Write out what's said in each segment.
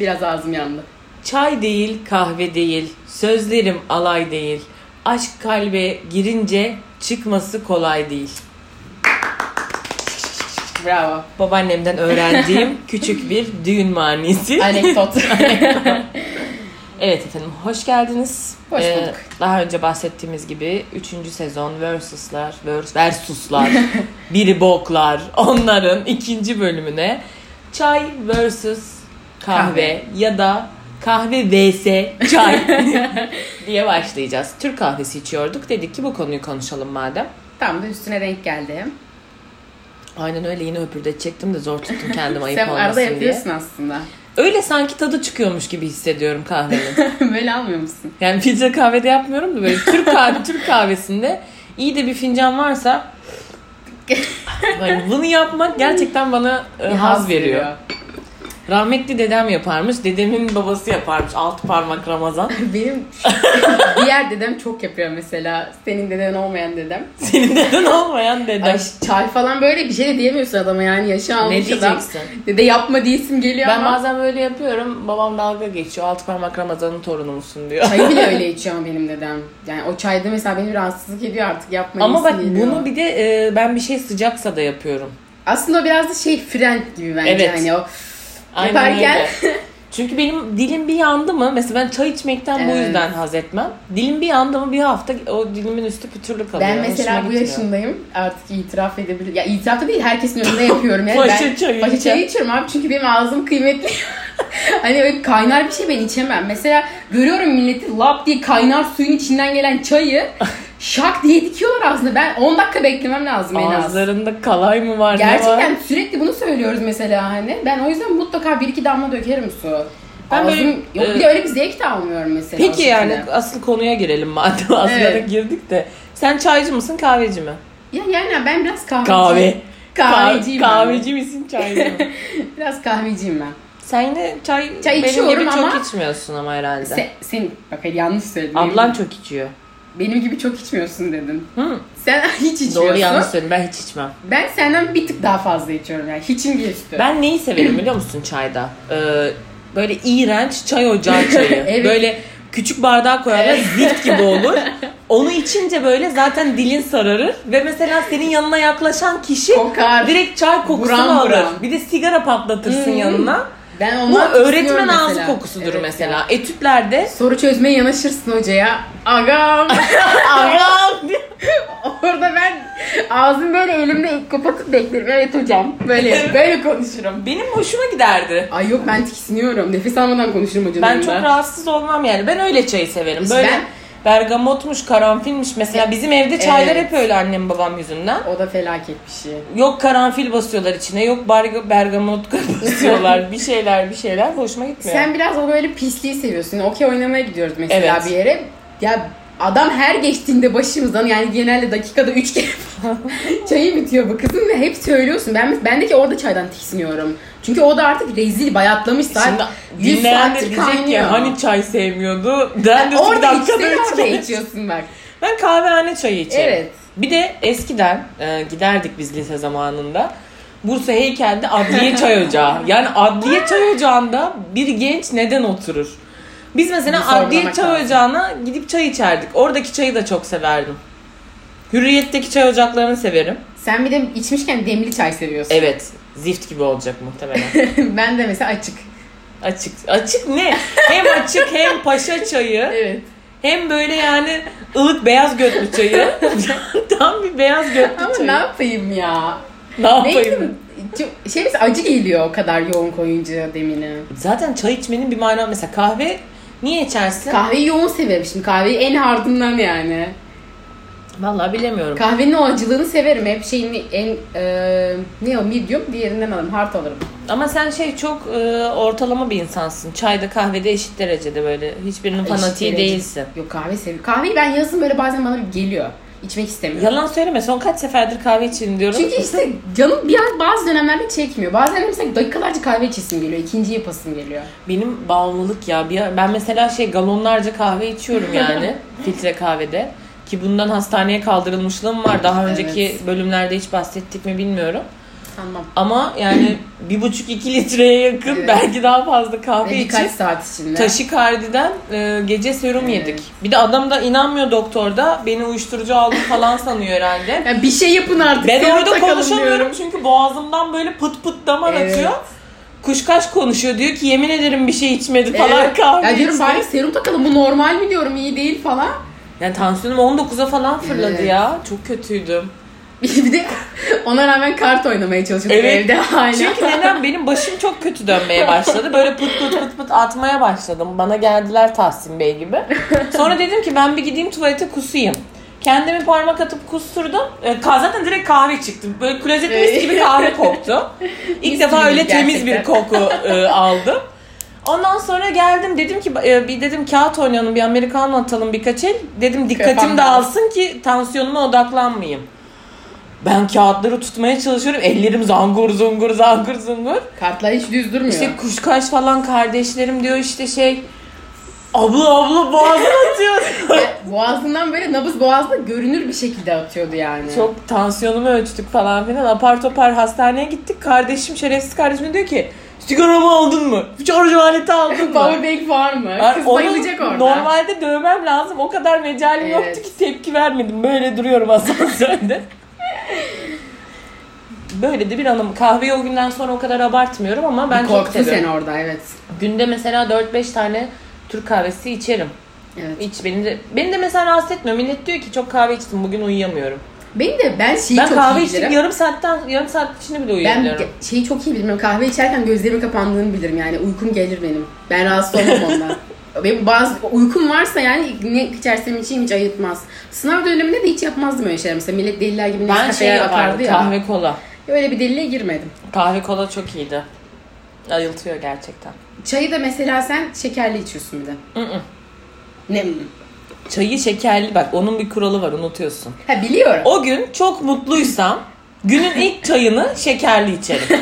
Biraz ağzım yandı. Çay değil, kahve değil, sözlerim alay değil. Aşk kalbe girince çıkması kolay değil. Bravo. Babaannemden öğrendiğim küçük bir düğün manisi. Anekdot. Evet efendim, hoş geldiniz. Hoş Ee, bulduk. daha önce bahsettiğimiz gibi 3. sezon versuslar, vers, versuslar, biri boklar onların ikinci bölümüne çay versus kahve, Kahve. ya da kahve vs çay diye başlayacağız. Türk kahvesi içiyorduk. Dedik ki bu konuyu konuşalım madem. Tam da üstüne denk geldi. Aynen öyle yine öpürde çektim de zor tuttum kendim ayıp Sen arada olmasın diye. yapıyorsun aslında. Öyle sanki tadı çıkıyormuş gibi hissediyorum kahvenin. Böyle almıyor musun? Yani filtre kahvede yapmıyorum da böyle Türk kahve, Türk kahvesinde iyi de bir fincan varsa yani bunu yapmak gerçekten bana e, haz veriyor. Rahmetli dedem yaparmış, dedemin babası yaparmış. Alt parmak Ramazan. Benim diğer dedem çok yapıyor mesela. Senin deden olmayan dedem. Senin deden olmayan dedem. Ay, şey çay falan böyle bir şey de diyemiyorsun adama yani yaşı almış ne adam. diyeceksin? Dede yapma diyesim geliyor Ben ama. bazen böyle yapıyorum. Babam dalga geçiyor. Alt parmak Ramazan'ın torunu musun diyor. Çayı bile öyle içiyor ama benim dedem. Yani o çayda mesela beni rahatsızlık ediyor artık yapma Ama bak diyesim geliyor. bunu bir de e, ben bir şey sıcaksa da yapıyorum. Aslında o biraz da şey frenk gibi bence Evet. hani o Aynen Yaparken- öyle. Çünkü benim dilim bir yandı mı mesela ben çay içmekten bu Evet. yüzden haz etmem. Dilim bir yandı mı bir hafta o dilimin üstü pütürlü kalıyor. Ben mesela Hoşuma bu gitmiyor. yaşındayım. Artık itiraf edebilirim. Ya itiraf da değil herkesin önünde yapıyorum. Yani Paşa ben çayı paşa içer. çayı içiyorum abi çünkü benim ağzım kıymetli. hani öyle kaynar bir şey ben içemem. Mesela görüyorum milleti lap diye kaynar suyun içinden gelen çayı şak diye dikiyorlar aslında. Ben 10 dakika beklemem lazım en az. Ağızlarında kalay mı var ne var? Gerçekten sürekli bunu söylüyoruz mesela hani. Ben o yüzden mutlaka bir iki damla dökerim su. Ben Ben böyle- e, Ağzım, yok bir de öyle bir zevk de almıyorum mesela. Peki aslında. yani asıl konuya girelim madem aslında Evet. girdik de. Sen çaycı mısın kahveci mi? Ya yani ben biraz kahveci. Kahve. Kahveciyim. Kah- ben. kahveci misin çaycı mı? Biraz kahveciyim ben. Sen yine çay, Çay benim gibi içiyorum ama- çok içmiyorsun ama herhalde. Se, sen bak hayır, yanlış söyledin. Ablan çok içiyor. benim gibi çok içmiyorsun dedin. Hı. Sen hiç içmiyorsun. Doğru yanlış söyledim ben hiç içmem. Ben senden bir tık daha fazla içiyorum yani. Hiçim diye üstü. Ben neyi severim biliyor musun çayda? Ee, böyle iğrenç çay ocağı çayı. Evet. Böyle küçük bardağa koyarlar zift gibi olur. Onu içince böyle zaten dilin sararır ve mesela senin yanına yaklaşan kişi kokar. direkt çay kokusunu Buram alır. buram. Hmm. Bir de sigara patlatırsın Hı. yanına. ben Bu ondan öğretmen tiksiniyorum ağzı mesela. kokusudur Evet mesela. ya. Etütlerde Soru çözmeye yanaşırsın hocaya. Agam. Aram! Orada ben ağzımı böyle elimle kapatıp beklerim. Evet hocam. Böyle böyle konuşurum. benim hoşuma giderdi. Ay yok ben tiksiniyorum. Nefes almadan konuşurum hocanın Ben yanında. çok rahatsız olmam yani. Ben öyle çayı severim. İşte Böyle ben- bergamotmuş, karanfilmiş. Mesela bizim evde çaylar hep öyle annem babam yüzünden. O da felaket bir şey. Yok karanfil basıyorlar içine, yok barga, bergamot basıyorlar. bir şeyler bir şeyler hoşuma gitmiyor. Sen biraz o böyle pisliği seviyorsun. Okey oynamaya gidiyoruz mesela Evet. bir yere. Ya adam her geçtiğinde başımızdan yani genelde dakikada 3 kere falan çayı bitiyor bu kızın ve hep söylüyorsun. Ben ben de ki orada çaydan tiksiniyorum. Çünkü o da artık rezil bayatlamış Şimdi saat. 100 dinleyen de saattir diyecek kaynıyor. ki hani çay sevmiyordu. Ben de bir orada dakikada içsen üç orada kere içiyorum. içiyorsun bak. Ben kahvehane çayı içerim. Evet. Bir de eskiden e, giderdik biz lise zamanında. Bursa heykelde adliye çay ocağı. Yani adliye çay ocağında bir genç neden oturur? Biz mesela Bir sorgulamak adliye çay lazım. ocağına gidip çay içerdik. Oradaki çayı da çok severdim. Hürriyetteki çay ocaklarını severim. Sen bir de içmişken demli çay seviyorsun. Evet. Zift gibi olacak muhtemelen. ben de mesela açık. açık. Açık ne? Hem açık hem paşa çayı. Evet. Hem böyle yani ılık beyaz götlü çayı. Tam bir beyaz götlü Ama çayı. ne yapayım ya? Ne Neyse, çok- şey mesela acı geliyor o kadar yoğun koyunca demini. Zaten çay içmenin bir manası mesela kahve niye içersin? Kahveyi yoğun severim şimdi. Kahveyi en hardından yani. Vallahi bilemiyorum. Kahvenin o acılığını severim. Hep şeyini en e, ne o medium diğerinden alırım. Hard alırım. Ama sen şey çok e, ortalama bir insansın. Çayda kahvede eşit derecede böyle hiçbirinin fanatiği Eşit derece. değilsin. Yok kahve seviyorum. Kahveyi ben yazın böyle bazen bana bir geliyor. İçmek istemiyorum. Yalan söyleme son kaç seferdir kahve içiyorum diyorum. Çünkü işte canım bir an bazı dönemlerde çekmiyor. Bazen de mesela dakikalarca kahve içesim geliyor. ikinci yapasım geliyor. Benim bağımlılık ya. Bir, ben mesela şey galonlarca kahve içiyorum yani. filtre kahvede. Ki bundan hastaneye kaldırılmışlığım var. Daha önceki Evet. bölümlerde hiç bahsettik mi bilmiyorum. sanmam. Ama yani bir buçuk iki litreye yakın Evet. belki daha fazla kahve Ve için birkaç saat içinde. taşikardiden e, gece serum Evet. yedik. Bir de adam da inanmıyor doktorda. Beni uyuşturucu aldım falan sanıyor herhalde. Ya bir şey yapın artık. Ben serum orada takalım konuşamıyorum diyorum. çünkü boğazımdan böyle pıt pıt damar Evet. atıyor. Kuşkaş konuşuyor diyor ki yemin ederim bir şey içmedi falan Evet. kahve Ya diyorum içti. bari serum takalım bu normal mi diyorum iyi değil falan. Yani tansiyonum 19'a falan fırladı Evet. ya. Çok kötüydüm. Bir de ona rağmen kart oynamaya çalışıyorduk Evet. evde hala. Çünkü neden benim başım çok kötü dönmeye başladı. Böyle pıt pıt pıt pıt atmaya başladım. Bana geldiler Tahsin Bey gibi. Sonra dedim ki ben bir gideyim tuvalete kusayım. Kendimi parmak atıp kusturdum. Ee, ka- zaten direkt kahve çıktı. Böyle klozet mis gibi kahve koktu. İlk Mis defa gibi öyle temiz bir gerçekten. koku e, aldım. Ondan sonra geldim dedim ki e, bir dedim kağıt oynayalım bir Amerikan atalım birkaç el. Dedim dikkatim Kafam dağılsın ki tansiyonuma odaklanmayayım. Ben kağıtları tutmaya çalışıyorum. Ellerim zangur zungur zangur zungur. Kartlar hiç düz durmuyor. İşte kuşkaş falan kardeşlerim diyor işte şey abla abla boğazını atıyor. boğazından böyle nabız boğazda görünür bir şekilde atıyordu yani. Çok tansiyonumu ölçtük falan filan. Apar topar hastaneye gittik. Kardeşim şerefsiz kardeşim diyor ki sigaramı aldın mı? Şarj aleti aldın mı? Powerbank var mı? Yani Kız onu bayılacak orada. Normalde dövmem lazım. O kadar mecalim Evet. yoktu ki tepki vermedim. Böyle duruyorum asansörde. Böyle de bir anım. Kahveyi o günden sonra o kadar abartmıyorum ama ben ben çok Korktu seviyorum. seni orada evet. Günde mesela 4-5 tane Türk kahvesi içerim. Evet. Hiç beni de, beni de mesela rahatsız etmiyor. Millet diyor ki çok kahve içtim bugün uyuyamıyorum. Benim de ben şeyi ben çok kahve iyi içtim bilirim. yarım saatten yarım saat içinde bile Ben uyuyabiliyorum. ge- şeyi çok iyi bilmem. Kahve içerken gözlerimin kapandığını bilirim. Yani uykum gelir benim. Ben rahatsız olmam ondan. Benim bazı uykum varsa yani ne içersem içeyim hiç ayıtmaz. Sınav döneminde de hiç yapmazdım öyle şeyler. Mesela millet deliler gibi Ben, şey Nescafe'ye bakardı yapardım ya. kahve kola. Öyle bir deliliğe girmedim. Kahve kola çok iyiydi. Ayıltıyor gerçekten. Çayı da mesela sen şekerli içiyorsun bir de. Mm-mm. Ne? Çayı şekerli bak onun bir kuralı var unutuyorsun. Ha biliyorum. O gün çok mutluysam günün ilk çayını şekerli içerim.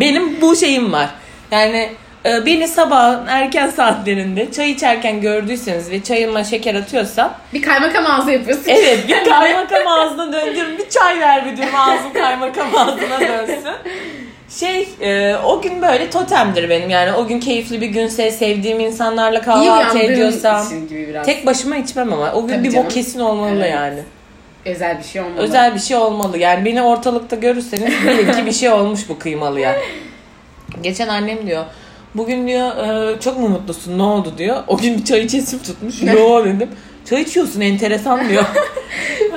Benim bu şeyim var. Yani e, beni sabahın erken saatlerinde çay içerken gördüyseniz ve çayıma şeker atıyorsam Bir kaymakam ağzı yapıyorsun. evet bir kaymakam ağzına döndürün bir çay ver bir diyorum ağzım kaymakam ağzına dönsün. Şey e, o gün böyle totemdir benim yani o gün keyifli bir günse sevdiğim insanlarla İyi kahvaltı uyandığın ediyorsam. için gibi biraz. şey Tek başıma içmem ama o gün Tabii bir canım. bok kesin olmalı Evet. yani. Özel bir şey olmalı. Özel bir şey olmalı. Yani beni ortalıkta görürseniz bilin ki bir şey olmuş bu kıymalıya. Geçen annem diyor. Bugün diyor "e, çok mu mutlusun ne oldu diyor. O gün bir çay içesim tutmuş. Yo dedim. Çay içiyorsun enteresan diyor.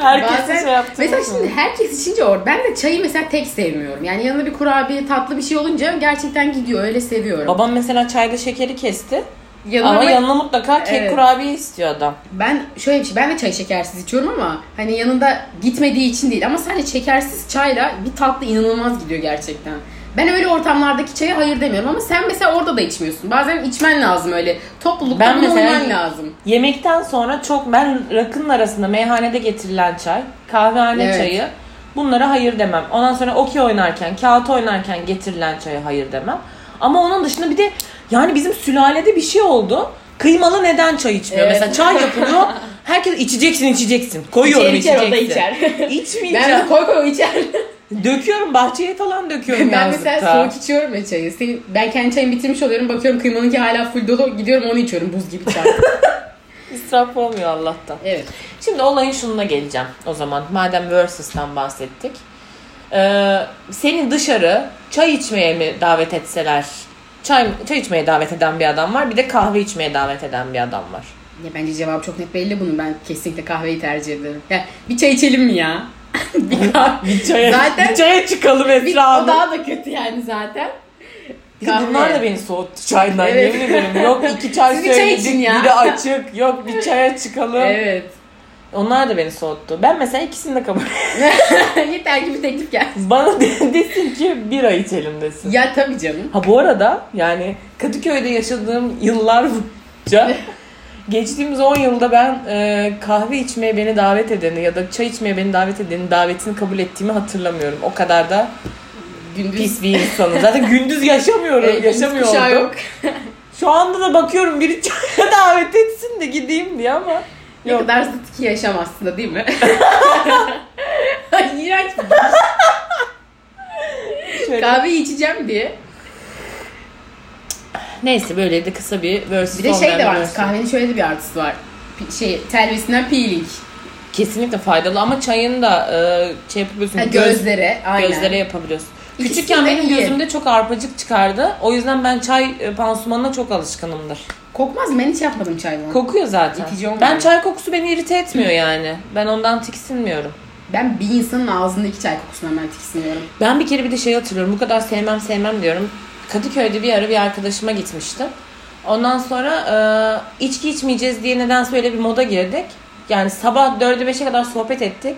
Herkes de Bazen- şey yaptı. Mesela şimdi herkes içince or. Ben de çayı mesela tek sevmiyorum. Yani yanına bir kurabiye tatlı bir şey olunca gerçekten gidiyor. Öyle seviyorum. Babam mesela çayda şekeri kesti. Yanına ama böyle- yanına mutlaka kek Evet. kurabiye istiyor adam. Ben şöyle bir şey. Ben de çay şekersiz içiyorum ama hani yanında gitmediği için değil. Ama sadece şekersiz çayla bir tatlı inanılmaz gidiyor gerçekten. Ben öyle ortamlardaki çaya hayır demiyorum ama sen mesela orada da içmiyorsun. Bazen içmen lazım öyle. Toplulukta Ben ben mesela- lazım. Yemekten sonra çok ben rakının arasında meyhanede getirilen çay, kahvehane Evet. çayı bunlara hayır demem. Ondan sonra okey oynarken, kağıt oynarken getirilen çaya hayır demem. Ama onun dışında bir de yani bizim sülalede bir şey oldu. Kıymalı neden çay içmiyor? Evet. Mesela çay yapılıyor. Herkes içeceksin içeceksin. Koyuyorum İçer, içer, o da içer. içeceksin. İçmeyeceğim. Ben de koy koy içer. Döküyorum bahçeye falan döküyorum Ben yazlıkta. mesela soğuk içiyorum ya çayı. Senin, ben kendi çayımı bitirmiş oluyorum. Bakıyorum kıymanınki hala full dolu. Gidiyorum onu içiyorum buz gibi çay. İsraf olmuyor Allah'tan. evet. Şimdi olayın şununa geleceğim o zaman. Madem Versus'tan bahsettik. Ee, seni dışarı çay içmeye mi davet etseler? Çay, çay içmeye davet eden bir adam var. Bir de kahve içmeye davet eden bir adam var. Ya bence cevap çok net belli bunun. Ben kesinlikle kahveyi tercih ederim. Ya bir çay içelim mi ya? bir kahve. Bir çaya, Zaten- bir çaya çıkalım Bir, o Esra Hanım. daha da kötü yani zaten. Bir de Bunlar da beni soğuttu çaydan Evet. yemin ederim. Yok iki çay Siz bir çay söyledik için ya. bir de açık. Yok bir çaya çıkalım. Evet. Onlar da beni soğuttu. Ben mesela ikisini de kabul Yeter ki bir teklif gelsin. Bana de- desin ki bira içelim desin. Ya tabii canım. Ha bu arada yani Kadıköy'de yaşadığım yıllar boyunca geçtiğimiz 10 yılda ben e, kahve içmeye beni davet edeni ya da çay içmeye beni davet edeni davetini kabul ettiğimi hatırlamıyorum. O kadar da Gündüz. pis bir insanım. Zaten gündüz yaşamıyorum, Evet, gündüz yaşamıyor kuşağı oldum. yok. Şu anda da bakıyorum biri çaya davet etsin de gideyim diye ama Ne Yok. kadar zıt ki yaşam aslında değil mi? İğrenç. Şöyle. Kahve içeceğim diye. Neyse böyle de kısa bir versus Bir de şey olmayan de bir var. versus. Kahvenin şöyle de bir artısı var. Pi- Şey, telvisinden peeling. Kesinlikle faydalı ama çayın da e, şey yapabiliyorsun. Ha, göz- gözlere. Aynen. Gözlere yapabiliyorsun. İkisi Küçükken de benim iyi. gözümde çok arpacık çıkardı. O yüzden ben çay e, pansumanına çok alışkınımdır. Kokmaz mı? Ben hiç yapmadım çayla. Kokuyor zaten. İtici olmuyor. Ben çay kokusu beni irite etmiyor yani. Ben ondan tiksinmiyorum. ben bir insanın ağzındaki çay kokusundan ben tiksiniyorum. Ben bir kere bir de şey hatırlıyorum. Bu kadar sevmem sevmem diyorum. Kadıköy'de bir ara bir arkadaşıma gitmiştim. Ondan sonra e, içki içmeyeceğiz diye nedense böyle bir moda girdik. Yani sabah 4'e 5'e kadar sohbet ettik.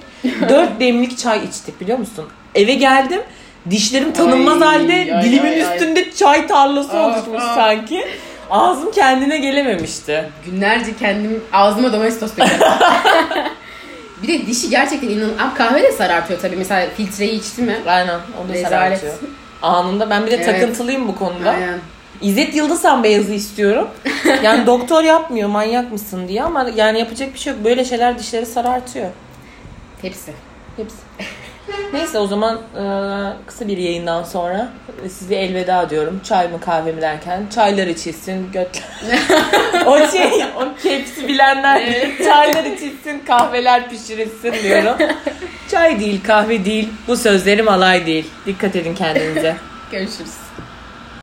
4 demlik çay içtik biliyor musun? Eve geldim. Dişlerim tanınmaz Ay, halde ay, dilimin ay, ay. üstünde çay tarlası Ah, oluşmuş ah. sanki. Ağzım kendine gelememişti. Günlerce kendim ağzıma domestos dökerim. bir de dişi gerçekten inanın. Abi kahve de sarartıyor tabii. Mesela filtreyi içti mi? Aynen. O da Rezalet. sarartıyor. Anında ben bir de Evet. takıntılıyım bu konuda. Aynen. İzzet Yıldızhan beyazı istiyorum. Yani doktor yapmıyor manyak mısın diye ama yani yapacak bir şey yok. Böyle şeyler dişleri sarartıyor. Hepsi. Hepsi. Neyse o zaman e, kısa bir yayından sonra size elveda diyorum. Çay mı kahve mi derken çaylar içilsin götler. o şey o kepsi bilenler bilir. çaylar içilsin kahveler pişirilsin diyorum. Çay değil kahve değil bu sözlerim alay değil. Dikkat edin kendinize. Görüşürüz.